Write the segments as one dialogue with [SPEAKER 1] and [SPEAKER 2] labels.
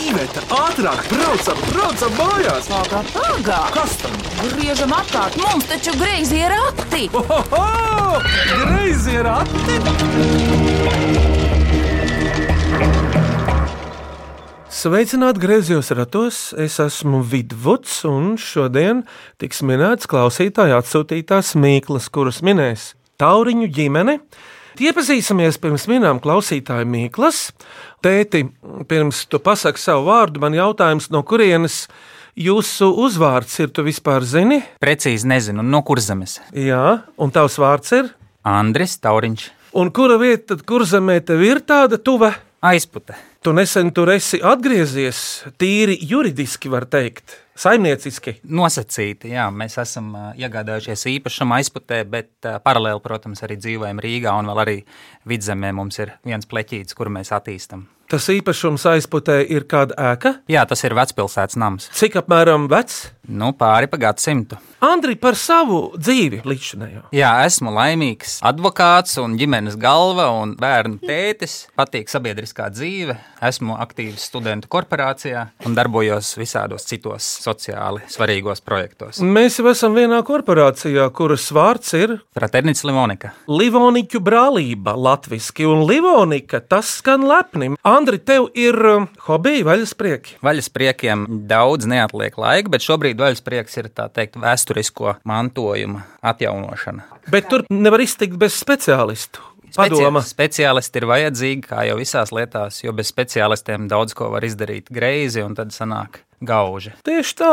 [SPEAKER 1] Iveta, ātrāk, braucam, braucam mājās!
[SPEAKER 2] Pagā, pagā!
[SPEAKER 1] Kas tam?
[SPEAKER 2] Griežam apkārt, mums taču greizi ir rati!
[SPEAKER 1] Ohoho! Greizi ir atti!
[SPEAKER 3] Sveicināti griezos ratos, es esmu Vidvuds, un šodien tiks minēts klausītāja atsūtītās mīklas, kuras minēs Tauriņu ģimene. Iepazīsimies pirms minām klausītāju mīklas. Tēti, pirms tu pasaki savu vārdu, man jautājums, no kurienes jūsu uzvārds ir, tu vispār zini?
[SPEAKER 4] Precīzi nezinu, no kurzemes.
[SPEAKER 3] Jā, un tavs vārds ir?
[SPEAKER 4] Andris Tauriņš,
[SPEAKER 3] Un kura vieta, tad, kur zemē tev ir tāda tuva?
[SPEAKER 4] aizpute.
[SPEAKER 3] Tu nesen tur esi atgriezies, tīri juridiski var teikt, saimnieciski.
[SPEAKER 4] Nosacīti, jā, mēs esam ā, iegādājušies īpašumu aizputē, bet ā, paralēli, protams, arī dzīvojam Rīgā un vēl arī vidzemē mums ir viens pleķītis, kuru mēs attīstam.
[SPEAKER 3] Tas īpašums aizputē ir kāda ēka,
[SPEAKER 4] Jā, tas ir vecpilsētas nams.
[SPEAKER 3] cik apmēram vecs.
[SPEAKER 4] Nu, pāri pa gadsimtu.
[SPEAKER 3] Andri par savu dzīvi līdzinējo.
[SPEAKER 4] Jā, esmu laimīgs. Advokāts un ģimenes galva un bērnu tētis. Patīk sabiedriskā dzīve. Esmu aktīvs studentu korporācijā un darbojos visādos citos sociāli svarīgos projektos.
[SPEAKER 3] Mēs jau esam vienā korporācijā, kuras vārds ir
[SPEAKER 4] Fraternits Limonika.
[SPEAKER 3] Livoniku brālība latviski, un Livonika tas skan lepni. Andri, tev ir um, hobiji vaļasprieki.
[SPEAKER 4] Vaļas priekiem daudz neatliek laika, bet šobrīd vaļas prieks ir tā teikt vēsturisko mantojuma atjaunošana.
[SPEAKER 3] Bet tur nevar iztikt bez speciālistu.
[SPEAKER 4] Speci-
[SPEAKER 3] Padoma.
[SPEAKER 4] Speciālisti ir vajadzīgi, kā jau visās lietās, jo bez speciālistiem daudz ko var izdarīt greizi un tad sanāk gauži.
[SPEAKER 3] Tieši tā,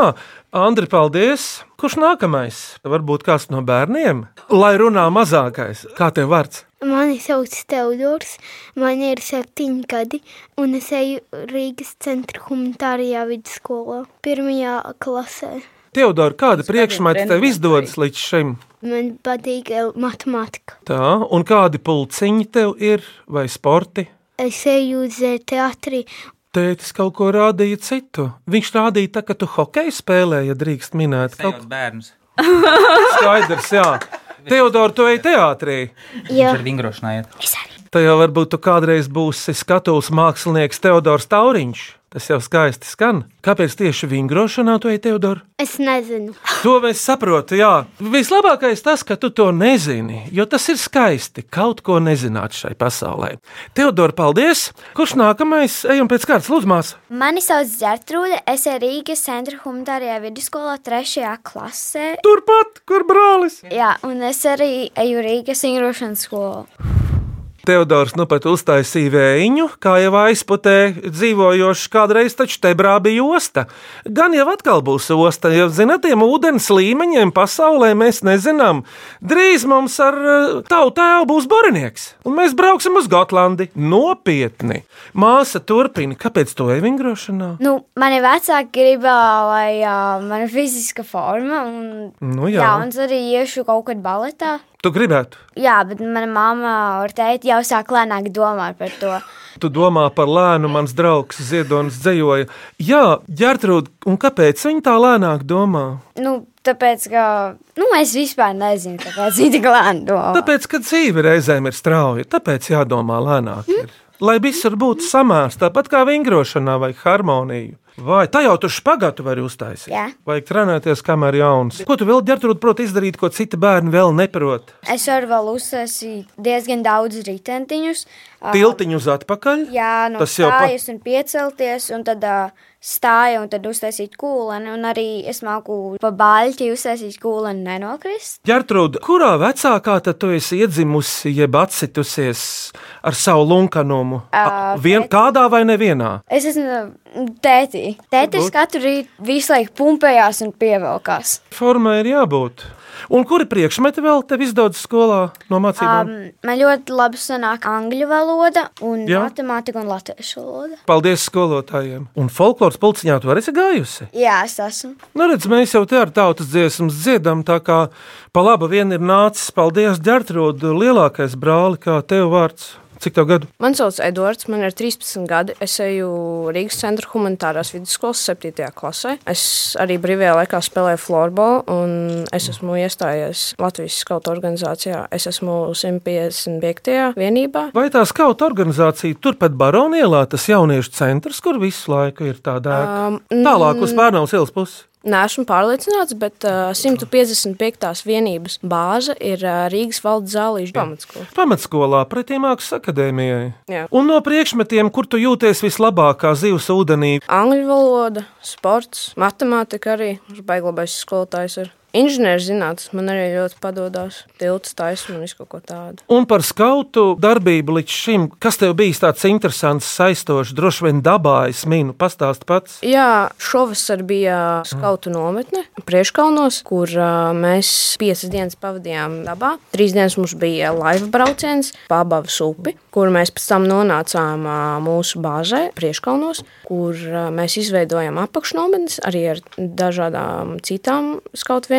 [SPEAKER 3] Andri, paldies. Kurš nākamais? Varbūt kāds no bērniem? Lai runā mazākais, kā tev vārds?
[SPEAKER 5] Mani sauc Teodors, man ir septiņi gadi, un es eju Rīgas centra humanitārajā vidusskolā, pirmajā klasē.
[SPEAKER 3] Teodor, kāda priekšmeta tev izdodas līdz šim?
[SPEAKER 5] Man patīk eh, matemātika.
[SPEAKER 3] Tā, un kādi pulciņi tev ir, vai sporti?
[SPEAKER 5] Es eju uz eh, teātri,
[SPEAKER 3] Tētis kaut ko rādīja citu. Viņš rādīja, tā, ka tu hokeju spēlēji, ja drīkst minēt. Kaut
[SPEAKER 4] Kaut bērns.
[SPEAKER 3] kas skaidrs, jā. Teodor, tu ej teātrī.
[SPEAKER 5] ja
[SPEAKER 4] Ar vingrošanā iet.
[SPEAKER 3] Tajā varbūt tu kādreiz būsi skatuves mākslinieks Teodors Tauriņš. Tas jau skaisti skan. Kāpēc tieši vingrošanā tu ej, Teodor?
[SPEAKER 5] es nezinu.
[SPEAKER 3] To mēs saprotam, jā. Vislabākais tas, ka tu to nezini, jo tas ir skaisti kaut ko nezināt šai pasaulē. Teodor, paldies! Kurš nākamais? Ejam pēc kārtas, lūdzu, māsas!
[SPEAKER 6] Mani sauc Gertrūde, es esmu Rīgas centra humanitārajā vidusskolā, trešajā klasē.
[SPEAKER 3] Turpat, kur brālis!
[SPEAKER 6] Jā, un es arī eju Rīgas ingrošanas skolā.
[SPEAKER 3] Teodors nu pat uztaisīja vēju, kā jau aizputē dzīvojošs, kādreiz taču tebrā bija osta. Gan jau atkal būs osta, jo, zinot, tiem ūdens līmeņiem pasaulē mēs nezinām. Drīz mums ar eh, tavu tēvu būs barinieks, un mēs brauksim uz Gotlandi nopietni. Māsa turpina, kāpēc to evingrošanā?
[SPEAKER 6] Nu, mani vecāki gribēja, lai uh, man ir fiziska forma, un,
[SPEAKER 3] Nu jā.
[SPEAKER 6] jā, un es arī iešu kaut kad baletā.
[SPEAKER 3] Tu gribētu,
[SPEAKER 6] Jā, bet mana mamma ar tēti jau sāk lēnāk domāt par to.
[SPEAKER 3] tu domā par lēnu, mans draugs Ziedonis dzējoja. Jā, Gertrūda, un kāpēc viņa tā lēnāk domā?
[SPEAKER 6] Nu, tāpēc, ka nu, es vispār nezinu, kāpēc viņa tik lēni domā.
[SPEAKER 3] Tāpēc, ka dzīve reizēm ir strauja, tāpēc jādomā lēnāk. Ir.
[SPEAKER 6] Hm?
[SPEAKER 3] Lai visur būtu samērā, tāpat kā vingrošanā, vai harmonija. Vai tā jau tur spagātu var uztaisīt?
[SPEAKER 6] Jā.
[SPEAKER 3] Vajag trenēties, kamēr jauns. Ko tu vēl ģērbtrūti proti izdarīt, ko citi bērni vēl neprot?
[SPEAKER 6] Es varu vēl uzsākt diezgan daudz ritentiņus. ā,
[SPEAKER 3] Tiltiņu uz atpakaļ.
[SPEAKER 6] Jā, nu, no
[SPEAKER 3] Tas jau pa-
[SPEAKER 6] stājas un piecelties, un tad ā, stāja un tad uztaisīt kūleni. Un arī es māku pa baļķi uztaisīt kūleni nenokrist.
[SPEAKER 3] Gertrūda, kurā vecākā tad tu esi iedzimusi, jeb atsitusies ar savu lunkanumu?
[SPEAKER 6] Ā,
[SPEAKER 3] A, Vien, kādā vai nevienā?
[SPEAKER 6] Es esmu mm, tēti. Tētis katru rītu visu laiku pumpējās un pievelkās.
[SPEAKER 3] Formā ir jābūt. Un kuri priekšmeti vēl tev izdodas skolā no mācībām?
[SPEAKER 6] Um, man ļoti labi sanāk angļu valoda, un
[SPEAKER 3] Jā.
[SPEAKER 6] matemātika un latviešu valoda.
[SPEAKER 3] Paldies skolotājiem! Un folkloras pulciņā tu arī esi gājusi?
[SPEAKER 6] Jā, es esmu.
[SPEAKER 3] Nu, redz, mēs jau te ar tautas dziesmu dziedam, tā kā pa labi vien ir nācis. Paldies, Dārtrūda, lielākais brāli, kā tev vārds. Cik tev gadu?
[SPEAKER 7] Man sauc Edvards, man ir 13 gadi. Es eju Rīgas centra humanitārās vidusskolas 7. klasē. Es arī brīvajā laikā spēlēju floorbola, un es esmu iestājies Latvijas skautu organizācijā. Es esmu 155. vienībā.
[SPEAKER 3] Vai tā skauta organizācija turpat Baronielā, tas jauniešu centrs, kur visu laiku ir tādā um,
[SPEAKER 7] Um,
[SPEAKER 3] tālāk uz Pērnavas ielas puses?
[SPEAKER 7] Nē, esmu pārliecināts, bet uh, 155. vienības bāze ir uh, Rīgas valdes zālīša pamatskola.
[SPEAKER 3] Pamatskolā pretī mākslas akadēmijai.
[SPEAKER 7] Jā.
[SPEAKER 3] Un no priekšmetiem, kur tu jūties vislabākā zivs ūdenī,
[SPEAKER 7] Angļu valoda, sports, matemātika arī. Mums baiglabais skolotājs ir. Inženierzinātnes man arī ļoti padodas. Tilts taisnība un visu kaut ko tādu.
[SPEAKER 3] Un par skautu darbību līdz šim, kas tev bijis tāds interesants, saistošs, droši vien dabā, es minu, pastāst pats.
[SPEAKER 7] Jā, šovasar bija skautu nometne Prieškalnos, kur uh, mēs piecas dienas pavadījām dabā. Trīs dienas mums bija laiva brauciens pa Abavas upi, kur mēs pēc tam nonācām uh, mūsu bāzē Prieškalnos, kur uh, mēs izveidojām apakšnometnes arī ar dažādām citām skautu vienībām.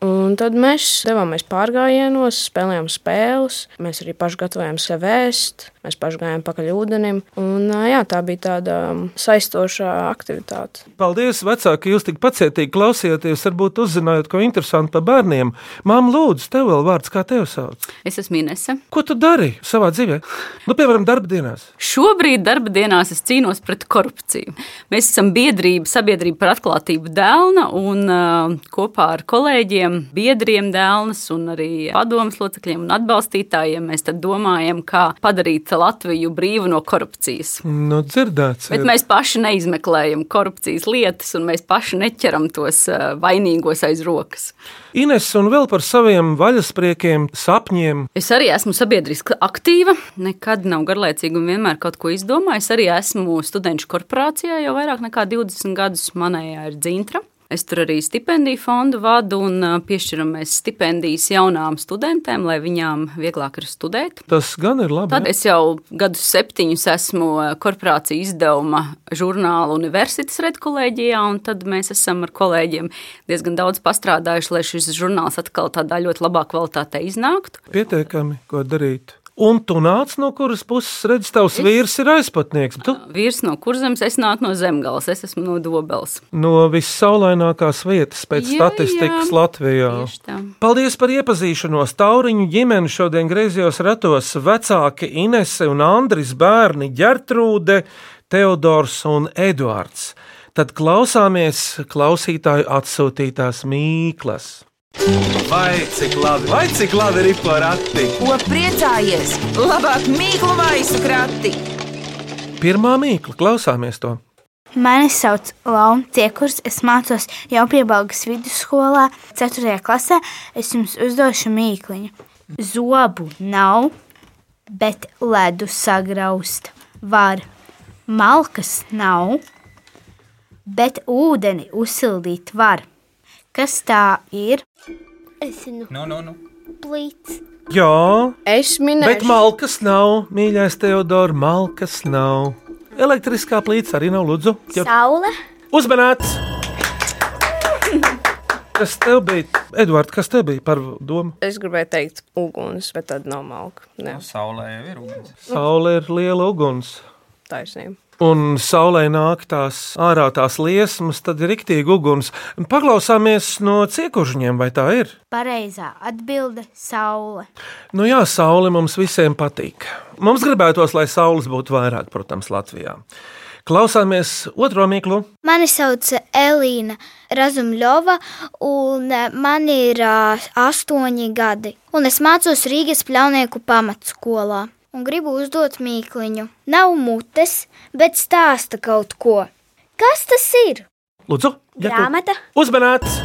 [SPEAKER 7] Un tad mēs devāmies pārgājienos, spēlējām spēles, mēs arī paši gatavojām sev ēst, mēs paši gājām pakaļ ūdenim. Un, ā, jā, tā bija tāda mm, saistoša aktivitāte.
[SPEAKER 3] Paldies, vecāki, jūs tik pacietīgi klausījāties, varbūt uzzinājāt, ko interesantu par bērniem. Mām, lūdzu, tev vēl vārds, kā tevi sauc.
[SPEAKER 8] Es esmu Inese.
[SPEAKER 3] Ko tu dari savā dzīvē? Nu, piemēram, darbdienās.
[SPEAKER 8] Šobrīd darba dienās es cīnos pret korupciju. Mēs esam biedrība, sabiedrība par atklātību dēlna un ā, kopā ar kolēģiem, biedriem dēlnas un arī padomus locekļiem un atbalstītājiem mēs tad domājam, kā padarīt Latviju brīvu no korupcijas.
[SPEAKER 3] Nu, dzirdēts.
[SPEAKER 8] Bet
[SPEAKER 3] ir.
[SPEAKER 8] mēs paši neizmeklējam korupcijas lietas, un mēs paši neķeram tos ā, vainīgos aiz rokas.
[SPEAKER 3] Ines un vēl par saviem vaļaspriekiem, sapņiem.
[SPEAKER 8] Es arī esmu sabiedriski aktīva, nekad nav garlaicīga un vienmēr kaut ko izdomāju. Es arī esmu studentu korporācijā jau vairāk nekā 20 gadus. Manējā ir dzintra. Es tur arī stipendiju fondu vadu un ā, piešķiram mēs stipendijas jaunām studentēm, lai viņām vieglāk ir studēt.
[SPEAKER 3] Tas gan ir labi.
[SPEAKER 8] Tad es jau gadus septiņus esmu eh, korporācija izdevuma žurnāla universitātes redkolēģijā, un tad mēs esam ar kolēģiem diezgan daudz pastrādājuši, lai šis žurnāls atkal tādā ļoti labā kvalitātē iznāktu.
[SPEAKER 3] Pietiekami, ko darīt. Un tu nāc no kuras puses, redz, tavs vīrs ir aizpatnieks. Tu
[SPEAKER 8] Vīrs no kurzemes, es nāku no zemgales, es esmu no dobels.
[SPEAKER 3] no vissaulainākās vietas pēc jā,
[SPEAKER 8] Jā,
[SPEAKER 3] statistikas
[SPEAKER 8] jā.
[SPEAKER 3] jā. Latvijā.
[SPEAKER 8] Tieši tā.
[SPEAKER 3] Paldies par iepazīšanos. Tauriņu ģimene šodien griezījos ratos vecāki Inese un Andris, bērni Gertrūde, Teodors un Eduards. Tad klausāmies klausītāju atsūtītās mīklas.
[SPEAKER 1] Vai cik labi, vai cik labi ir pa rati?
[SPEAKER 2] Ko priecājies? Labāk mīklu maisu krati!
[SPEAKER 3] Pirmā mīkla, klausāmies to.
[SPEAKER 5] Mani sauc Launa Ciekurs, es mācos jau piebalgas vidusskolā, 4. klasē. Es jums uzdošu mīkliņu. Zobu nav, bet ledu sagraust var. Malkas nav, bet ūdeni uzsildīt var. Kas tā ir?
[SPEAKER 9] Es zinu,
[SPEAKER 4] Nu, nu, nu.
[SPEAKER 9] plīts.
[SPEAKER 3] Jā,
[SPEAKER 7] Es minēju,
[SPEAKER 3] bet malkas nav, mīļais Teodor, malkas nav. Elektriskā plīts arī nav, lūdzu. Ķep.
[SPEAKER 9] Saule,
[SPEAKER 3] Uzmanīts! Kas tev bija, Edvards, kas tev bija par domu?
[SPEAKER 7] es gribēju teikt, uguns, bet tad nav malka. Nē,
[SPEAKER 4] Saulē jau ir uguns.
[SPEAKER 3] Saule ir liela uguns.
[SPEAKER 7] taisnība.
[SPEAKER 3] Un saulē nāk tās ārā tās liesmas, tad ir rīktīgi uguns. Paklausāmies no ciekužņiem, vai tā ir?
[SPEAKER 5] Pareizā atbilde - saule.
[SPEAKER 3] Nu jā, saule mums visiem patīk. Mums gribētos, lai saules būtu vairāk, protams, Latvijā. Klausāmies otro mīklu.
[SPEAKER 9] mani sauc Elīna Razumļova, un eh, man ir ā, astoņi gadi. Un es mācos Rīgas pļaunieku pamatskolā. Un gribu uzdot mīkliņu. Nav mutes, bet stāsta kaut ko. Kas tas ir?
[SPEAKER 3] Lūdzu,
[SPEAKER 9] Grāmata.
[SPEAKER 3] Uzmanīts!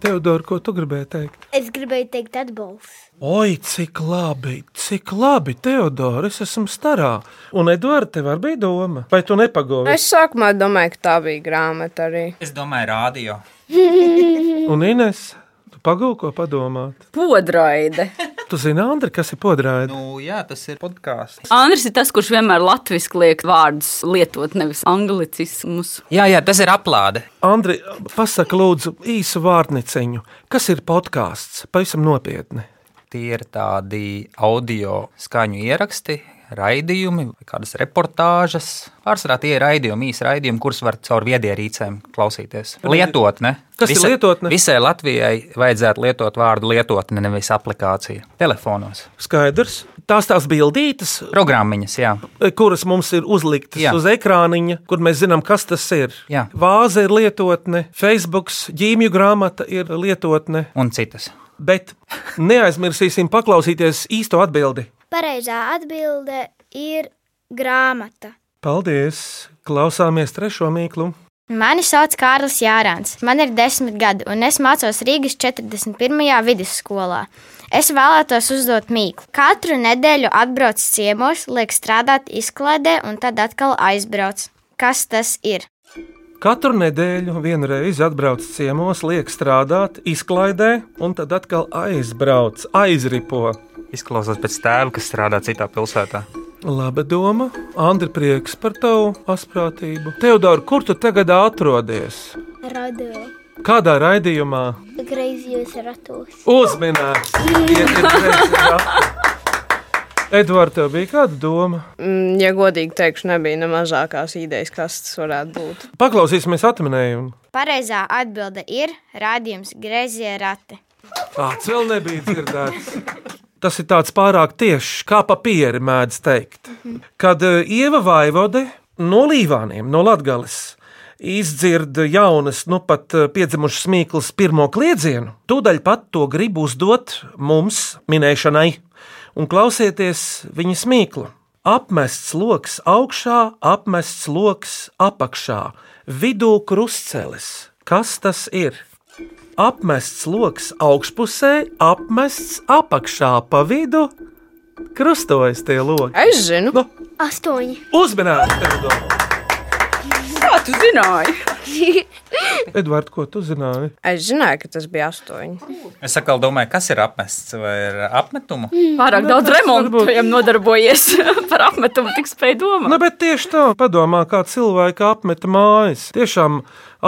[SPEAKER 3] Teodor, ko tu gribēji teikt?
[SPEAKER 9] Es gribēju teikt, atbalsts.
[SPEAKER 3] Oi, cik labi, cik labi, Teodor, es esmu starā. Un, Edvards, tev arī bija doma, vai tu nepagoji?
[SPEAKER 7] Es sākumā domāju, ka tā bija grāmata arī.
[SPEAKER 4] Es domāju, rādio.
[SPEAKER 3] Un, Ines, tu pagoji, ko padomāt?
[SPEAKER 8] Podraide.
[SPEAKER 3] Tu zini, Andri, kas ir podrāde?
[SPEAKER 4] Nu, jā, tas ir podkāsts.
[SPEAKER 8] Andris ir tas, kurš vienmēr latviešu liek vārdus lietot, nevis anglicismus.
[SPEAKER 4] Jā, jā, tas ir aplāde.
[SPEAKER 3] Andri, pasaka lūdzu īsu vārniciņu. Kas ir podkāsts? Pavisam nopietni.
[SPEAKER 4] Tie ir tādi audio skaņu ieraksti, raidījumi, vai kādas reportāžas. Pārsvarā tie ir raidījumi, īsi raidījumi, kurus var caur viedierīcēm klausīties. Lietotne.
[SPEAKER 3] Kas ir lietotne?
[SPEAKER 4] Visai Latvijai vajadzētu lietot vārdu lietotne, nevis aplikācija. Telefonos.
[SPEAKER 3] Skaidrs. Tās tās bildītas,
[SPEAKER 4] Programmiņas, jā.
[SPEAKER 3] kuras mums ir uzliktas jā.
[SPEAKER 4] Jā.
[SPEAKER 3] uz ekrāniņa, kur mēs zinām, kas tas ir.
[SPEAKER 4] Jā.
[SPEAKER 3] Vāze ir lietotne, Facebook, ģīmju grāmata ir lietotne,
[SPEAKER 4] Un citas.
[SPEAKER 3] bet neaizmirsīsim paklausīties īsto atbildi.
[SPEAKER 9] Pareizā atbilde ir grāmata.
[SPEAKER 3] Paldies! Klausāmies trešo mīklu.
[SPEAKER 10] Mani sauc Kārlis Jārāns. Man ir desmit gadi, un es mācos Rīgas 41. vidusskolā. Es vēlētos uzdot mīklu. Katru nedēļu atbrauc ciemos, liek strādāt izklaidē, un tad atkal aizbrauc. Kas tas ir?
[SPEAKER 3] Katru nedēļu vienreiz atbrauc ciemos, liek strādāt, izklaidē, un tad atkal aizbrauc, aizripo.
[SPEAKER 4] Izklausās pēc tēva, kas strādā citā pilsētā.
[SPEAKER 3] Laba doma, Andri, prieks par tavu asprātību. Teodor, kur tu tagad atrodies?
[SPEAKER 5] Radio
[SPEAKER 3] Kādā raidījumā?
[SPEAKER 5] greizījos ratos.
[SPEAKER 3] Uzminēts! Iet ir reizes rati. Edvard, tev bija kāda doma?
[SPEAKER 7] Mm, Ja godīgi teikšu, nebija ne mazākās idejas, kas tas varētu būt.
[SPEAKER 3] Paklausīsimies atminējumu.
[SPEAKER 10] Pareizā atbilde ir rādījums Grēzie Rati.
[SPEAKER 3] Tāds vēl nebija dzirdēts. Tas ir tāds pārāk tiešs, kā papīri mēdz teikt. Kad eh, Ieva Vaivode no Līvāniem, no Latgales, izdzird jaunas, nu pat eh, piedzimušas mīklas pirmo kliedzienu, tūdaļ pat to grib uzdot mums minēšanai. Un klausieties viņas mīklu. Apmests lokus augšā, apmests lokus apakšā, vidū krustcelis. Kas tas ir? apmests lokus augšpusē, apmests apakšā pa vidu. Krustojas tie loki.
[SPEAKER 7] Es zinu,
[SPEAKER 3] Nu,
[SPEAKER 5] Astoņi.
[SPEAKER 3] Uzmanīgi, Edvards!
[SPEAKER 8] Kā tu zināji?
[SPEAKER 3] Edvards, ko tu zināji?
[SPEAKER 7] es zināju, ka tas bija astoņi.
[SPEAKER 4] Es atkal domāju, kas ir apmests vai ir apmetuma.
[SPEAKER 7] Mm.
[SPEAKER 8] Pārāk
[SPEAKER 7] Nu,
[SPEAKER 8] daudz remontu viņam nodarbojies par apmetumu, tik spēj domāt.
[SPEAKER 3] Nu, bet tieši tā, padomā, kā cilvēki apmeta mājas. Tiešām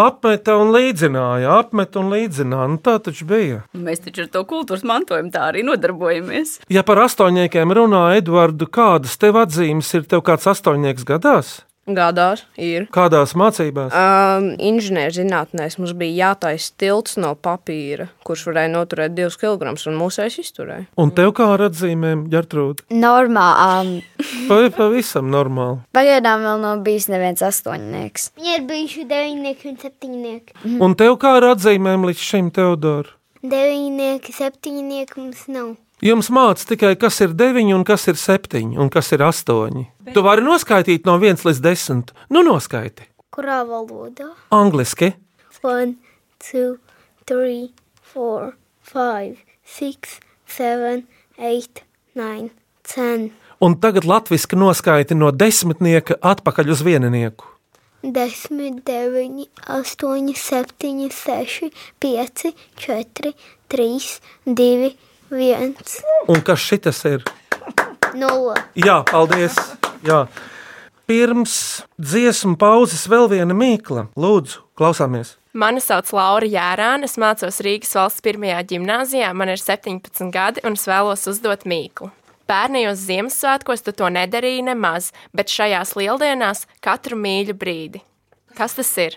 [SPEAKER 3] apmeta un līdzināja, apmeta un līdzināja. Nu, tā taču bija.
[SPEAKER 8] Mēs taču ar to kultūras mantojumu tā arī nodarbojamies.
[SPEAKER 3] Ja par astoņniekiem runā, Edvards, kādas tev atzīmes ir? Tev kāds astoņnieks gadās?
[SPEAKER 7] Gadās ir.
[SPEAKER 3] Kādās mācībās?
[SPEAKER 7] Um, Inženierzinātnēs mums bija jātaisa tilts no papīra, kurš varēja noturēt divus kilogramus, un mūsēs izturēja.
[SPEAKER 3] Un tev kā ar atzīmēm, Gertrūda?
[SPEAKER 6] Normāli.
[SPEAKER 3] Pa, pavisam normāli.
[SPEAKER 6] Pagaidām vēl nav bijis neviens astoņnieks.
[SPEAKER 5] Viņi ir bijuši deviņnieki un septiņnieki.
[SPEAKER 3] Un tev kā ar atzīmēm līdz šim, Teodor?
[SPEAKER 5] Deviņnieki, septiņnieki mums nav.
[SPEAKER 3] Jums mācās tikai, kas ir deviņi, un kas ir septiņi, un kas ir astoņi. Bet... Tu vari noskaitīt no viens līdz desmit. Nu, noskaiti.
[SPEAKER 5] Kurā valodā?
[SPEAKER 3] Angliski.
[SPEAKER 5] One, two, three, four, five, six, seven, eight, nine, ten.
[SPEAKER 3] Un tagad latviešu noskaiti no desmitnieka atpakaļ uz vieninieku.
[SPEAKER 5] Desmit, deviņi, astoņi, septiņi, seši, pieci, četri, trīs, divi, viens,
[SPEAKER 3] Un kas šitas ir?
[SPEAKER 5] nulle.
[SPEAKER 3] Jā, paldies! Jā. Pirms dziesmu pauzes vēl viena mīkla. Lūdzu, klausāmies!
[SPEAKER 11] Mani sauc Laura Jērāna, es mācos Rīgas valsts pirmajā gimnājā, man ir 17 gadi un es vēlos uzdot mīklu. Pērnējos Ziemassvētkos tu to nedarīji nemaz, bet šajās lieldienās katru mīļu brīdi. Kas tas ir?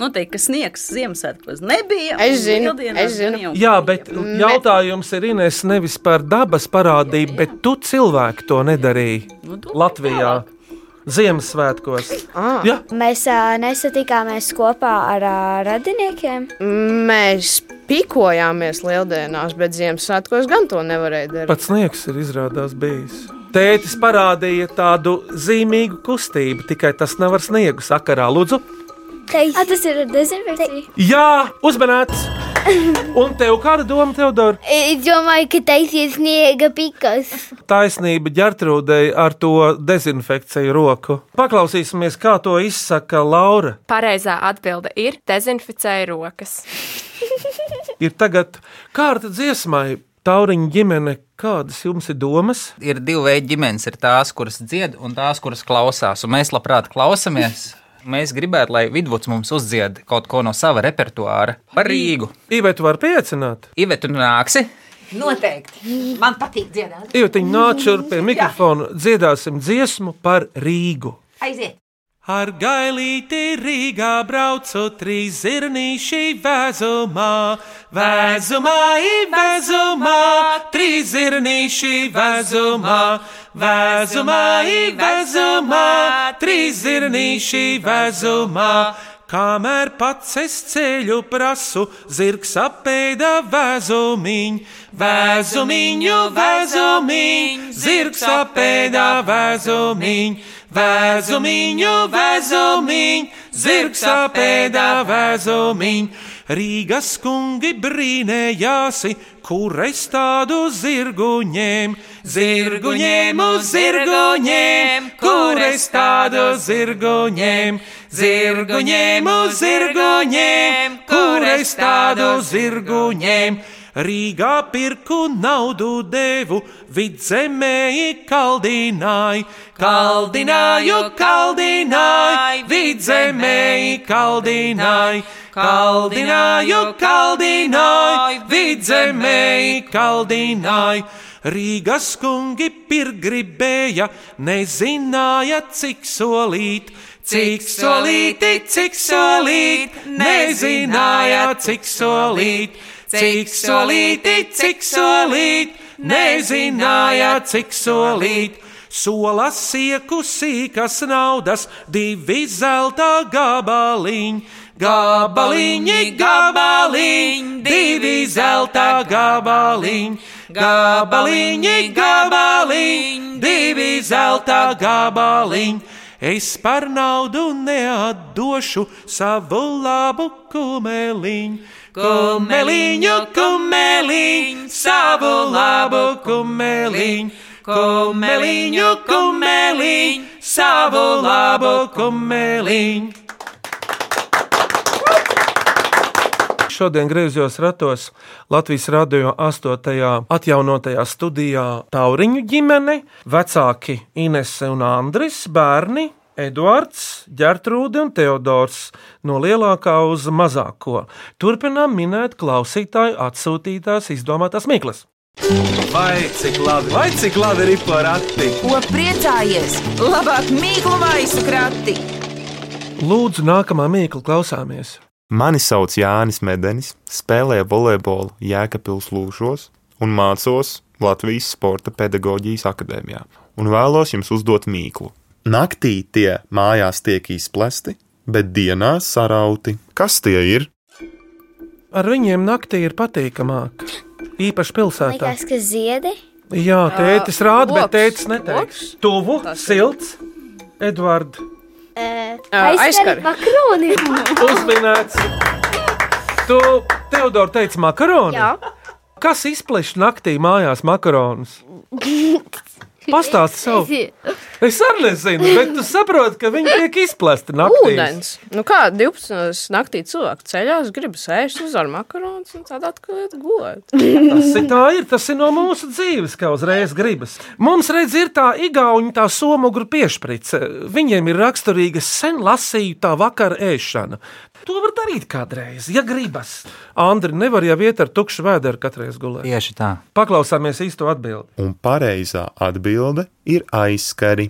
[SPEAKER 12] Noteikti, ka sniegs Ziemassvētkos nebija. un
[SPEAKER 7] Es zinu,
[SPEAKER 12] lieldienās
[SPEAKER 7] es zinu.
[SPEAKER 12] gan jau
[SPEAKER 3] Jā,
[SPEAKER 12] bija.
[SPEAKER 3] bet jautājums ir Inês nevis par dabas parādību, bet tu cilvēku to nedarīji Latvijā. Ziemassvētkos. Ah. Jā,
[SPEAKER 6] Mēs ā, nesatikāmies kopā ar ā, radiniekiem.
[SPEAKER 7] Mēs pikojāmies lieldienās, bet Ziemassvētkos gan to nevarēja darīt.
[SPEAKER 3] pats sniegs ir izrādās bijis. Tētis parādīja tādu zīmīgu kustību, tikai tas nav ar sniegu sakarā. Lūdzu,
[SPEAKER 5] Taisi.
[SPEAKER 6] Tas ir dezinfekcija.
[SPEAKER 3] jā, uzmanīts! Un tev kāda doma, Teodor?
[SPEAKER 5] Es domāju, ka taisies sniega pikas.
[SPEAKER 3] Taisnība ģērtrūdei ar to dezinfekciju roku. Paklausīsimies, kā to izsaka Laura.
[SPEAKER 11] Pareizā atbilde ir dezinficēja rokas.
[SPEAKER 3] ir tagad kārta dziesmai. Tauriņa ģimene, kādas jums ir domas?
[SPEAKER 4] ir divi veidi ģimenes. Ir tās, kuras dzied, un tās, kuras klausās. Un mēs labprāt klausāmies. Mēs gribētu, lai Vidvuds mums uzdzied kaut ko no sava repertuāra par Rīgu.
[SPEAKER 3] Īvēt, var piecināt.
[SPEAKER 4] Ivet, tu nāksi?
[SPEAKER 2] Noteikti. Man patīk dziedāt.
[SPEAKER 3] Ietiņa nāc šurp pie mikrofona, dziedāsim dziesmu par Rīgu.
[SPEAKER 2] Aiziet!
[SPEAKER 3] Ar gailīti Rīgā braucu trīs zirnīši vēzumā, vēzumā, i vēzumā, trīs zirnīši vēzumā, vēzumā, i vēzumā, trīs zirnīši vēzumā. Kamēr pats es ceļu prasu, zirgs apēda vēzumiņu, vēzumiņu, vēzumiņu, zirgs apēda vēzumiņu, vēzumiņu, vēzumiņu, zirgs apēda vēzumiņu. Rīgas kungi brīnējāsi, kur es tādu zirgu ņēmu, zirgu ņēmu, zirgu ņēmu, kur es tādu zirgu ņēmu, zirgu ņēmu, zirgu ņēmu, kur es tādu zirgu ņēmu. Rīgā pirku naudu devu, vidzemēji kaldināju, kaldināju, kaldināju, vidzemēji kaldināju, kaldināju, kaldināju, vidzemēji kaldināju. Rīgas kungi pirgribēja, nezināja, cik solīt. Cik solīti, cik solīt, nezināja, cik solīt. Cik solīti, cik solīt, nezināja, cik solīt. Sola sieku sīkas naudas, divi zelta gabaliņi, gabaliņi, gabaliņi, divi zelta gabaliņi, gabaliņi, gabaliņi, divi zelta gabaliņi. Es par naudu neatdošu savu labu kumeliņu, kumeliņu, kumeliņu, savu labu kumeliņu, kumeliņu, kumeliņu, savu labu kumeliņu. Šodien griezos ratos Latvijas radio 8. atjaunotajā studijā Tauriņu ģimene, vecāki Inese un Andris, bērni Eduards, Gertrūde un Teodors no lielākā uz mazāko. Turpinām minēt klausītāju atsūtītās izdomātās mīklas.
[SPEAKER 1] Vai cik labi, vai cik labi ir porakti?
[SPEAKER 2] Ko priecājies? Labāk mīklu maisu krati!
[SPEAKER 3] Lūdzu, nākamā mīkla klausāmies.
[SPEAKER 13] Mani sauc Jānis Medenis, spēlēju volejbolu Jēkabūras lūšos un mācos Latvijas Sporta pedagoģijas akadēmijā. Un vēlos jums uzdot mīklu. Naktī tie mājās tiek izplesti, bet dienā sarauti. Kas tie ir?
[SPEAKER 3] Ar viņiem naktī ir patīkamāk, īpaši pilsētā.
[SPEAKER 5] Likās, ka ziedi.
[SPEAKER 3] Jā, tētis rāda, bet
[SPEAKER 5] Loks,
[SPEAKER 3] tētis neteiks. Tuvu, silts, Edvards.
[SPEAKER 5] Aizskari makroni.
[SPEAKER 3] Uzminēts. Tu, Teodor, teici makaronu?
[SPEAKER 5] Jā.
[SPEAKER 3] Kas izpleš naktī mājās makaronus? Pastāsti savu. Es arī nezinu, bet tu saproti, ka viņi tiek izplesti naktī.
[SPEAKER 7] Ūdens. Nu kā 12. naktī cilvēki ceļā, es gribu sēžot uz ar makaronus un tādā atkal iet gulēt.
[SPEAKER 3] Tas ir, tā ir, tas ir no mūsu dzīves, kā uzreiz gribas. Mums, redz, ir tā igauni, tā somogru piešprice. Viņiem ir raksturīga sen lasīju tā vakara ēšana. To var darīt kādreiz, ja gribas. Andri, nevar jau iet ar tukšu vēderu katreiz gulēt.
[SPEAKER 4] Tieši tā.
[SPEAKER 3] Paklausāmies īsto atbildi.
[SPEAKER 13] Un pareizā atbilde ir aizskari.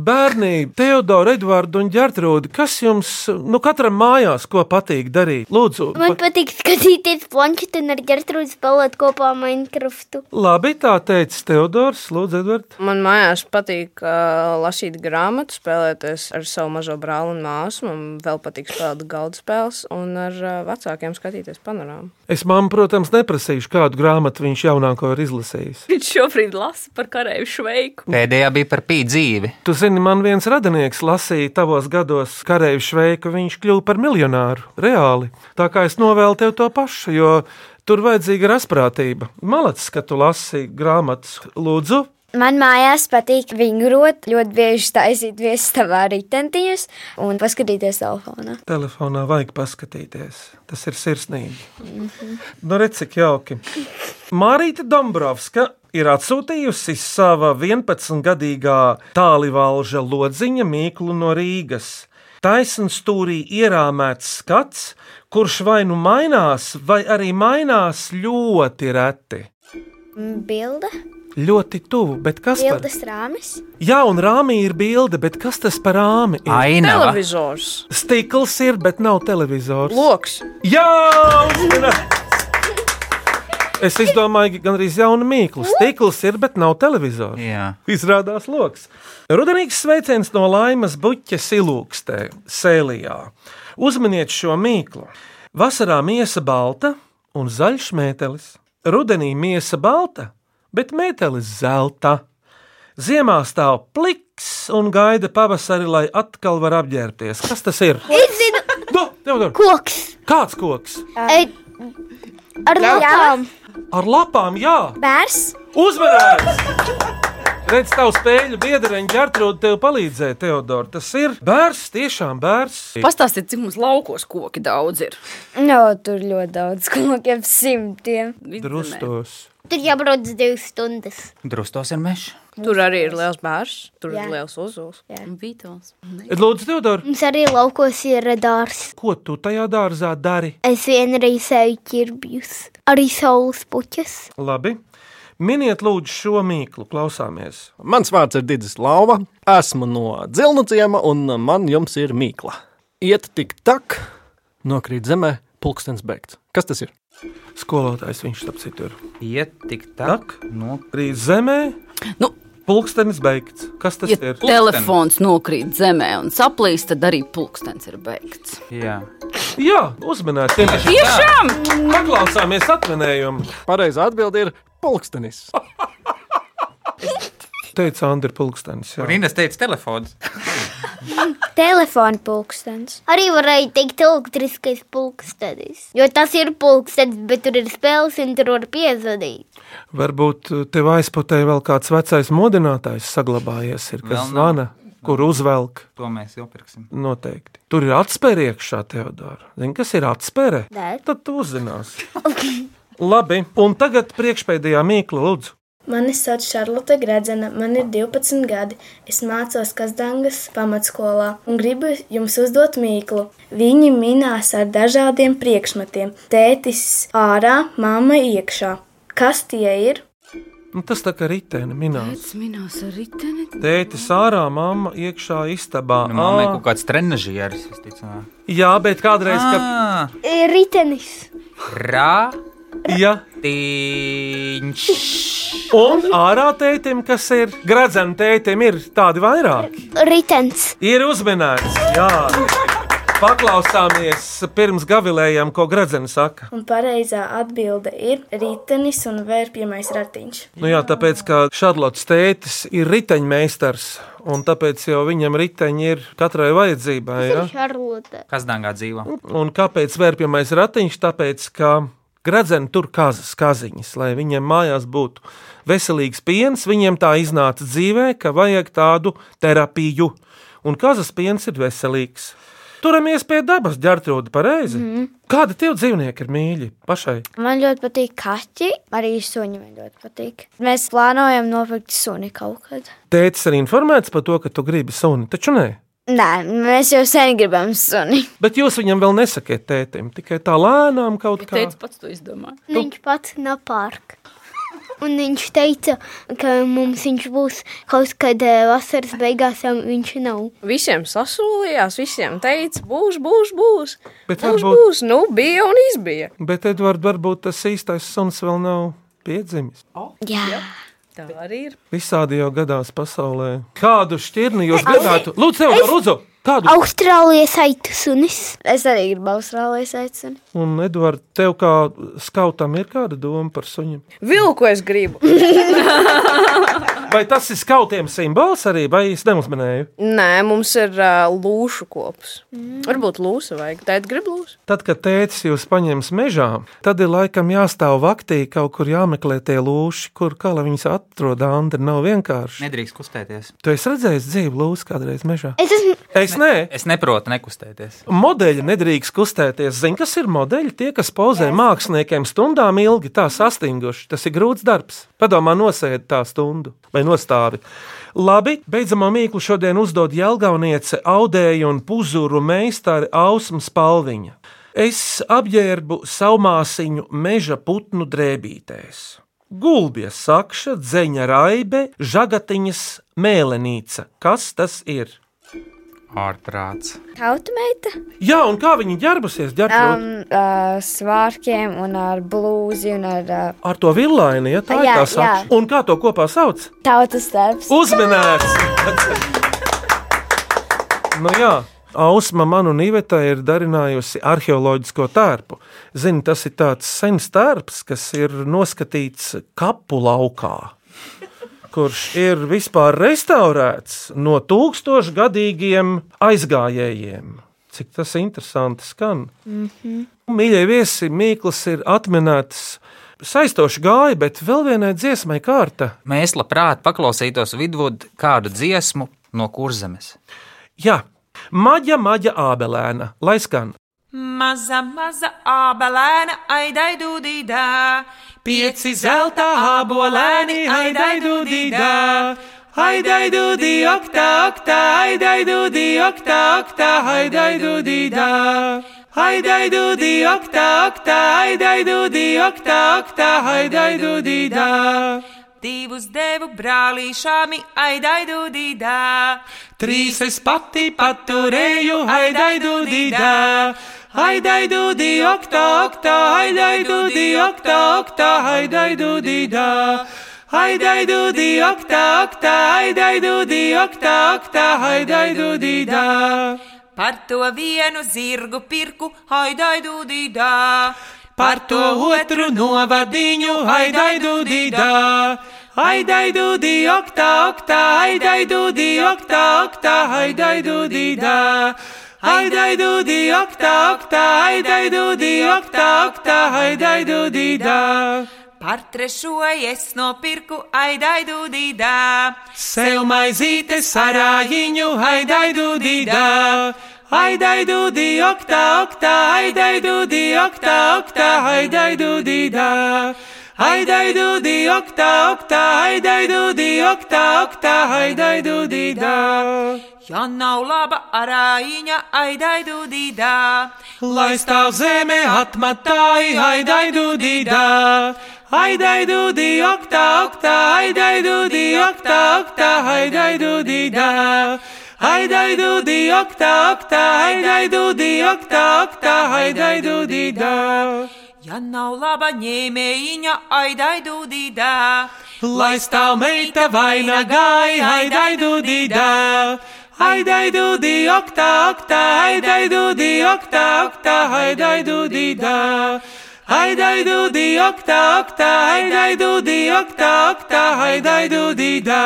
[SPEAKER 3] Bērni, Teodora, Edvards un Gertrūda, kas jums, nu, katram mājās, ko patīk darīt? Lūdzu,
[SPEAKER 5] Man patīk skatīties planšetu un ar ģērtrūdu spēlēt kopā Minecraftu.
[SPEAKER 3] labi, tā teica Teodors, Lūdzu, Edvards.
[SPEAKER 7] Man mājās patīk uh, lasīt grāmatu, spēlēties ar savu mazo brāli un māsu. Man vēl patīk spēlēt galdu spēles un ar uh, vecākiem skatīties panorāmu.
[SPEAKER 3] Es mammu, protams, neprasīšu, kādu grāmatu viņš jaunāko ir izlasījis.
[SPEAKER 12] Viņš šobrīd lasa par karēju šveiku.
[SPEAKER 4] Pēdējā bija par pīdzi dzīvi.
[SPEAKER 3] Tu zini, man viens radinieks lasīja tavos gados karavīru šveiku, viņš kļuva par miljonāru. Reāli. Tā kā es novēlu tev to pašu, jo tur vajadzīga rasprātība. Malacis, ka tu lasi grāmatas, lūdzu.
[SPEAKER 6] Man mājās patīk vingrot, ļoti bieži taisīt viestavā ritentiņus un paskatīties telefonā.
[SPEAKER 3] Telefonā vajag paskatīties. Tas ir sirsnīgi. Nu, redz, cik jauki. Mārīta Dombrovska ir atsūtījusi sava 11-gadīgā tālruņa lodziņa mīklu no Rīgas. Taisnība stūrī ierāmēts skats, kurš vai nu mainās, vai arī mainās ļoti reti.
[SPEAKER 5] Bilde,
[SPEAKER 3] Ļoti tuvu, bet kas par
[SPEAKER 5] bildes rāmis,
[SPEAKER 3] Jā, un rāmī ir bilde, bet kas tas par rāmi? ir?
[SPEAKER 4] Ainava.
[SPEAKER 7] Televizors.
[SPEAKER 3] Stikls ir, bet nav televizors.
[SPEAKER 7] Loks.
[SPEAKER 3] Jā, uzmanīgi! Es izdomāju, ka gandrīz jaunu mīklu. Stikls ir, bet nav televizors.
[SPEAKER 4] Jā.
[SPEAKER 3] Izrādās loks. Rudenīgs sveiciens no laimas buķa silūkstē, sēlijā. Uzminiet šo mīklu. Vasarā miesa balta un zaļš mētelis. Rudenī miesa balta, bet mētelis zelta. Ziemā stāv pliks un gaida pavasari, lai atkal var apģērbties. Kas tas ir?
[SPEAKER 9] Izzinu.
[SPEAKER 3] Nu, Teodor!
[SPEAKER 9] Koks!
[SPEAKER 3] Kāds koks?
[SPEAKER 9] Ei, ar lapām!
[SPEAKER 3] Ar lapām, jā!
[SPEAKER 9] Bērs!
[SPEAKER 3] Uzmanības! Redz, tavu spēļu biedreni ģērtrūdu tev palīdzēja, Teodor. Tas ir bērns, tiešām bērns.
[SPEAKER 8] Pastāstiet, cik mums laukos koki daudz ir.
[SPEAKER 6] No, tur ļoti daudz kokiem simtiem.
[SPEAKER 3] Drustos.
[SPEAKER 5] Tur jābrauc divas stundas.
[SPEAKER 4] Drustos ir mežs.
[SPEAKER 7] Tur arī ir liels bērns, tur
[SPEAKER 5] Jā.
[SPEAKER 7] ir liels uzuls.
[SPEAKER 8] Vītols.
[SPEAKER 3] Lūdzu, Teodor,
[SPEAKER 5] Mums arī laukos ir dārsts.
[SPEAKER 3] ko tu tajā dārzā dari?
[SPEAKER 5] Es vienreiz eju ķirbjus, arī saules puķus.
[SPEAKER 3] Labi. Miniet, lūdzu, šo mīklu, klausāmies.
[SPEAKER 14] Mans vārds ir Digis Lapa. Esmu no Zilna ciema, un man jums ir mīkla. Iet tik tak, nokrīt zemē, pulkstenis beigts. Kas tas ir?
[SPEAKER 3] Skolotājs viņš tam citur.
[SPEAKER 4] Iet tik tak,
[SPEAKER 3] nokrīt zemē.
[SPEAKER 8] Nu,
[SPEAKER 3] Pulkstenis beigts. Kas tas
[SPEAKER 8] ja
[SPEAKER 3] ir?
[SPEAKER 8] telefons nokrīt zemē un saplīst, tad arī pulkstenis ir beigts.
[SPEAKER 4] Jā,
[SPEAKER 3] Jā uzmanīgs.
[SPEAKER 8] Tiešām!
[SPEAKER 3] Paklausāmies atminējumu.
[SPEAKER 14] Pareizā atbilde ir pulkstenis.
[SPEAKER 3] Teica Andri Pulkstenis. jā.
[SPEAKER 4] Kur Inês teica telefons?
[SPEAKER 5] Telefona pulkstenis. Arī varēja teikt, elektriskais pulkstenis. Jo tas ir pulkstenis, bet tur ir spēles, un tur var piezvanīt.
[SPEAKER 3] Varbūt uh, tev aizputē vēl kāds vecais modinātājs saglabājies, ir,
[SPEAKER 4] Vēl nav.
[SPEAKER 3] kas zvana, kur uzvelk.
[SPEAKER 4] To mēs jau pirksim.
[SPEAKER 3] Noteikti. Tur ir atspērē iekšā, Teodora. Zini, kas ir atspērē?
[SPEAKER 5] Nē.
[SPEAKER 3] Tad tu uzzināsi. Labi, un tagad priekšpēdējā mīkla, lūdzu.
[SPEAKER 15] Mani sauc Šarlote Gredzena, man ir 12 gadi. Es mācos Kazdangas pamatskolā un gribu jums uzdot mīklu. Viņi minās ar dažādiem priekšmetiem - tētis ārā, mamma iekšā. Kas tie ir?
[SPEAKER 3] Nu, tas tā kā ritēna minēts.
[SPEAKER 8] Tas minās ar riteni.
[SPEAKER 3] Tētis ārā, mamma iekšā istabā.
[SPEAKER 4] Nu, man
[SPEAKER 3] Ā,
[SPEAKER 4] liekas, kaut kāds trenažieris, visticamāk.
[SPEAKER 3] Jā, bet kādreiz, kad.
[SPEAKER 5] Ritenis.
[SPEAKER 4] Rā,
[SPEAKER 3] Jā,
[SPEAKER 4] tīņš.
[SPEAKER 3] un ārā tētim, kas ir grazēm tētim, ir tādi vairāki.
[SPEAKER 5] Ritens.
[SPEAKER 3] Ir uzmanīgs. Jā, paklausāmies pirms gavilējam, ko grazēns saka.
[SPEAKER 15] Un pareizā atbilde ir ritenis un vērpjamais ratiņš.
[SPEAKER 3] Nu jā, tāpēc, ka Šarlotas tētis ir riteņmeistars, un tāpēc jau viņam riteņi ir katrai vajadzībai. Ja?
[SPEAKER 5] Šarlote.
[SPEAKER 4] Kas dāngā dzīvo?
[SPEAKER 3] Un kāpēc vērpjamais ratiņš? Tāpēc, ka gradzeni tur kazas, kaziņas, lai viņiem mājās būtu veselīgs piens, viņiem tā iznāca dzīvē, ka vajag tādu terapiju, un kazas piens ir veselīgs. Turamies pie dabas, ģērbtrūda pareizi. Mm. Kāda tev dzīvnieki ir mīļi pašai?
[SPEAKER 6] Man ļoti patīk kaķi, arī suņi man ļoti patīk. Mēs plānojam nopirkt suni kaut kad.
[SPEAKER 3] Tētis ir informēts par to, ka tu gribi suni, taču nē.
[SPEAKER 6] Nē, mēs jau sen gribam suni.
[SPEAKER 3] Bet jūs viņam vēl nesakiet, tētim, tikai tā lēnām kaut kā.
[SPEAKER 8] Teicu pats to izdomā.
[SPEAKER 5] Viņš pats nepārk. Un viņš teica, ka mums viņš būs kaut kad eh, vasaras beigās, ja viņš nav.
[SPEAKER 7] Visiem sasūlījās, visiem teica, būs, būs, būs.
[SPEAKER 3] Bet
[SPEAKER 7] būs,
[SPEAKER 3] varbūt-
[SPEAKER 7] būs, nu bija un izbija.
[SPEAKER 3] Bet, Edvards, varbūt tas īstais suns vēl nav piedzimis.
[SPEAKER 7] Jā. Tā arī ir.
[SPEAKER 3] Visādi jau gadās pasaulē. Kādu šķirni jūs gribētu? Lūdzu, tev, Lūdzu! Kādu?
[SPEAKER 5] Austrālijas aitu sunis.
[SPEAKER 6] Es arī gribu Austrālijas aicinu.
[SPEAKER 3] Un, Edvards, tev kā skautam ir kāda doma par suņiem?
[SPEAKER 7] Vilku es gribu.
[SPEAKER 3] Vai tas ir skautiem simbols arī, vai es neuzmanēju?
[SPEAKER 7] Nē, mums ir uh, lūšu kops. Mm. Varbūt lūsu vajag. Tēt grib lūsu.
[SPEAKER 3] Tad, kad tēcis jūs paņems mežā, tad ir laikam jāstāv vaktī, kaut kur jāmeklē tie lūši, kur kā lai viņas atrod, Andri, nav vienkārši.
[SPEAKER 4] Nedrīkst kustēties.
[SPEAKER 3] Tu esi redzējis dzīvu lūsu kādreiz mežā?
[SPEAKER 5] Es esmu
[SPEAKER 3] Es nē.
[SPEAKER 4] Es neprotu nekustēties.
[SPEAKER 3] Modeļi nedrīkst kustēties. Zini, kas ir modeļi? Tie, kas pozē māksliniekiem stundām ilgi, tā sastinguši. Tas ir grūts darbs. Padomā, nosēdi tā stundu vai nostāvi. Labi, beidzamā mīklu šodien uzdod Jēlgauniece audēju un puzuru meistari Ausmas Palviņa. Es apģērbu savu māsiņu meža putnu drēbītēs. Gulbja sakša, dzeņa raibe, žagatiņas mēlenīca. Kas tas ir?
[SPEAKER 4] Ārprāts.
[SPEAKER 6] Tautumeita?
[SPEAKER 3] Jā, un kā viņi ģērbusies? Ģērbjot?
[SPEAKER 6] Um, uh, svārkiem un ar blūzi un ar uh,
[SPEAKER 3] Ar to villaini, ja tā
[SPEAKER 6] Jā,
[SPEAKER 3] ir tā sakša.
[SPEAKER 6] jā.
[SPEAKER 3] Un kā to kopā sauc?
[SPEAKER 6] tautas darbs.
[SPEAKER 3] Uzmanīgs! Nu jā. Ausma man un Iveta ir darinājusi arheoloģisko tērpu. Zini, tas ir tāds sens tērps, kas ir noskatīts kapu laukā, kurš ir vispār restaurēts no tūkstošgadīgiem aizgājējiem. Cik tas interesanti skan.
[SPEAKER 2] Mhm.
[SPEAKER 3] Mīļie viesi, Mīkls ir atminēts saistoši gāja, bet vēl vienai dziesmai kārta.
[SPEAKER 4] Mēs labprāt paklausītos vidvudu kādu dziesmu no kurzemes.
[SPEAKER 3] Jā, maģa, maģa ābelēna, lai skan.
[SPEAKER 16] Maza, maza abelēna, aidai dūdīdā, pieci zelta abolēni, aidai dūdīdā, aidai dūdī, oktā, oktā, aidai dūdī, oktā, oktā, aidai dūdīdā, aidai dūdī, oktā, oktā, aidai dūdī, oktā, oktā, aidai dūdīdā. Divus devu brālīšāmi, aidai dūdīdā, trīs es pati paturēju, aidai dūdīdā. Haidai dūdi, oktā, oktā, haidai dūdi, oktā, oktā, haidai dūdi, dā. Haidai dūdi, oktā, oktā, haidai dūdi, oktā, oktā, haidai dūdi, dā.
[SPEAKER 17] Par to vienu zirgu pirku, haidai dūdīdā.
[SPEAKER 16] Par to otru novadiņu, haidai dūdi, dā. Haidai dūdi, oktā, oktā, haidai dūdi, oktā, oktā, haidai dūdi, dā. Haidai dūdi, oktā, oktā, haidai dūdi, oktā, oktā, haidai dūdi, dā.
[SPEAKER 17] Par trešo es nopirku aidai dūdīdā.
[SPEAKER 16] Sev maizīte sarājiņu, haidai dūdīdā, haidai dūdī, oktā, oktā, haidai dūdī, oktā, oktā, haidai dūdīdā, haidai dūdī, oktā, oktā, haidai dūdī, oktā, oktā, haidai dūdīdā.
[SPEAKER 17] Ja nav laba arāņa, aidai dūdīdā.
[SPEAKER 16] Lai stāv zeme atmatāji, haidai dūdīdā, haidai dūdī, oktā, oktā, haidai dūdī, oktā, oktā, haidai dūdīdā. Haidai dūdī, oktā, oktā, haidai dūdī, oktā, oktā, haidai dūdīdā.
[SPEAKER 17] Ja nav laba ņēmējiņa, aidai dūdīdā.
[SPEAKER 16] Lai stāv meita vainagai, haidai dūdīdā. Haidai dūdī, oktā, oktā, haidai dūdī, oktā, oktā, haidai dūdīdā. Haidai dūdī, oktā, oktā, haidai dūdī, oktā, oktā, haidai dūdīdā.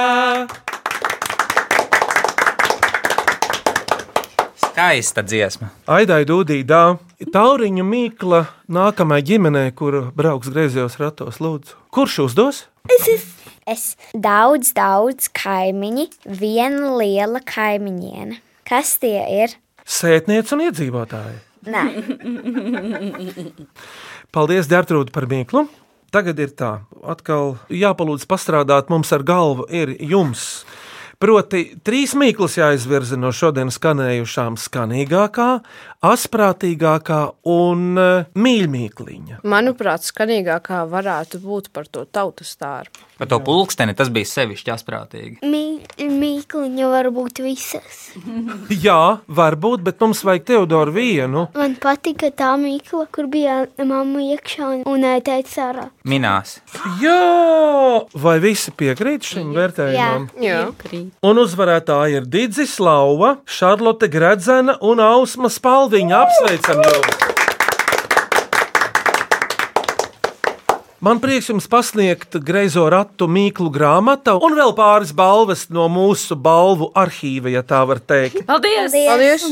[SPEAKER 4] Skaista dziesma.
[SPEAKER 3] Aidai Dudīdā, Tauriņa Mīkla, nākamajai ģimenei, kur brauks griezos ratos, lūdzu. Kurš uzdos?
[SPEAKER 6] Es esmu. Es daudz, daudz kaimiņi, viena liela kaimiņiene. Kas tie ir?
[SPEAKER 3] Sētniece un iedzīvotāji.
[SPEAKER 6] Nē.
[SPEAKER 3] Paldies, Dārtrūda, par mīklu. Tagad ir tā, atkal jāpalūdz pastrādāt mums ar galvu, ir jums. Proti, trīs mīklas jāizvirza no šodienas skanējušām skanīgākā, asprātīgākā un eh, mīļmīkliņa.
[SPEAKER 7] Manuprāt, skanīgākā varētu būt par to tautas stāstu.
[SPEAKER 4] Par to pulksteni tas bija sevišķi asprātīgi.
[SPEAKER 9] Mīkliņa var būt visas.
[SPEAKER 3] Jā, varbūt, bet mums vajag Teodoru vienu.
[SPEAKER 9] Man patika tā mīkla, kur bija mamma iekšā un- un ē, teica ārā.
[SPEAKER 4] Minās.
[SPEAKER 3] Jā, vai visi piekrīt šim vērtējumam? Un uzvarētāji ir Digis Lapa, Šarlote Gradzena un Ausma Spalviņa. Apsveicam jūs! Man prieks jums pasniegt greizo ratu mīklu grāmatu un vēl pāris balvas no mūsu balvu arhīva, ja tā var teikt.
[SPEAKER 8] Paldies!
[SPEAKER 7] Paldies!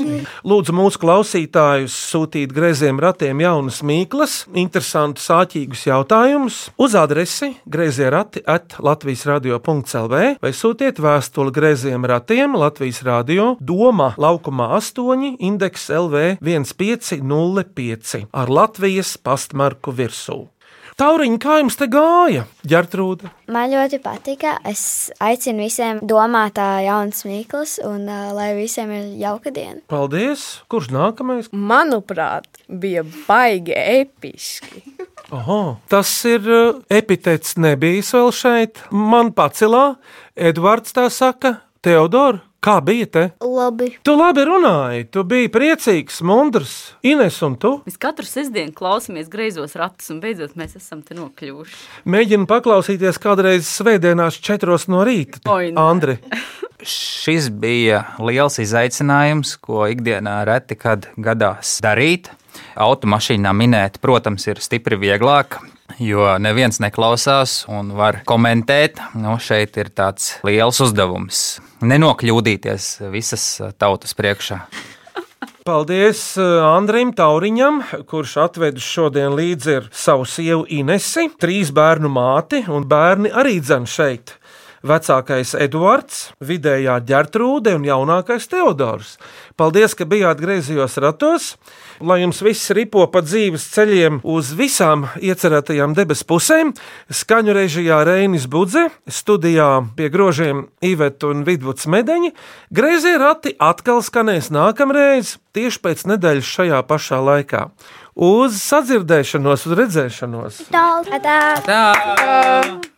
[SPEAKER 3] Lūdzu, mūsu klausītājus sūtīt grazējiem ratiem jaunas mīklas, interesantus, sāķīgus jautājumus uz adresi grazējie rati at Latvijas radio.clv vai sūtiet vēstuli grazējiem ratiem Latvijas radio Doma laukumā 8, indeks LV 1505 ar Latvijas pastmarku virsū. Tauriņ, kā jums te gāja, Gertrūda?
[SPEAKER 6] Man ļoti patika. Es aicinu visiem domāt, kā jauns mīklas, un uh, lai visiem ir jauka diena.
[SPEAKER 3] Paldies! Kurš nākamais?
[SPEAKER 7] Manuprāt, bija baigi episki.
[SPEAKER 3] Oho, tas ir uh, epitets, nebijis vēl šeit. Man pacelā, Edvards tā saka, Teodor, kā bija te?
[SPEAKER 9] Labi.
[SPEAKER 3] Tu labi runāji, tu biji priecīgs, mundrs, Ines un tu.
[SPEAKER 8] Mēs katru sestdienu klausāmies greizos ratus, un beidzot mēs esam te nokļuvuši.
[SPEAKER 3] Mēģinu paklausīties kādreiz svētdienās četros no rīta.
[SPEAKER 8] Oi, nē.
[SPEAKER 3] Andri,
[SPEAKER 4] Šis bija liels izaicinājums, ko ikdienā reti kad gadās darīt. Automašīnā minēt, protams, ir stipri vieglāk, jo neviens neklausās un var komentēt. Nu, šeit ir tāds liels uzdevums. Nenokļūdīties visas tautas priekšā.
[SPEAKER 3] Paldies uh, Andrim Tauriņam, kurš atvedis šodien līdzi ar savu sievu Inesi, trīs bērnu māti un bērni arī dzem šeit. Vecākais Edvards, vidējā ģērtrūde un jaunākais Teodors. Paldies, ka bijāt griezījos ratos, lai jums viss ripo pa dzīves ceļiem uz visām iecerētajām debesu pusēm. Skaņu režijā Reinis Budze, studijā pie grožiem Ivets un Vidvuds Medeņi. Griezie rati atkal skanēs nākamreiz, tieši pēc nedēļas šajā pašā laikā. Uz sadzirdēšanos, uz redzēšanos!
[SPEAKER 5] Tā, tā,
[SPEAKER 4] tā.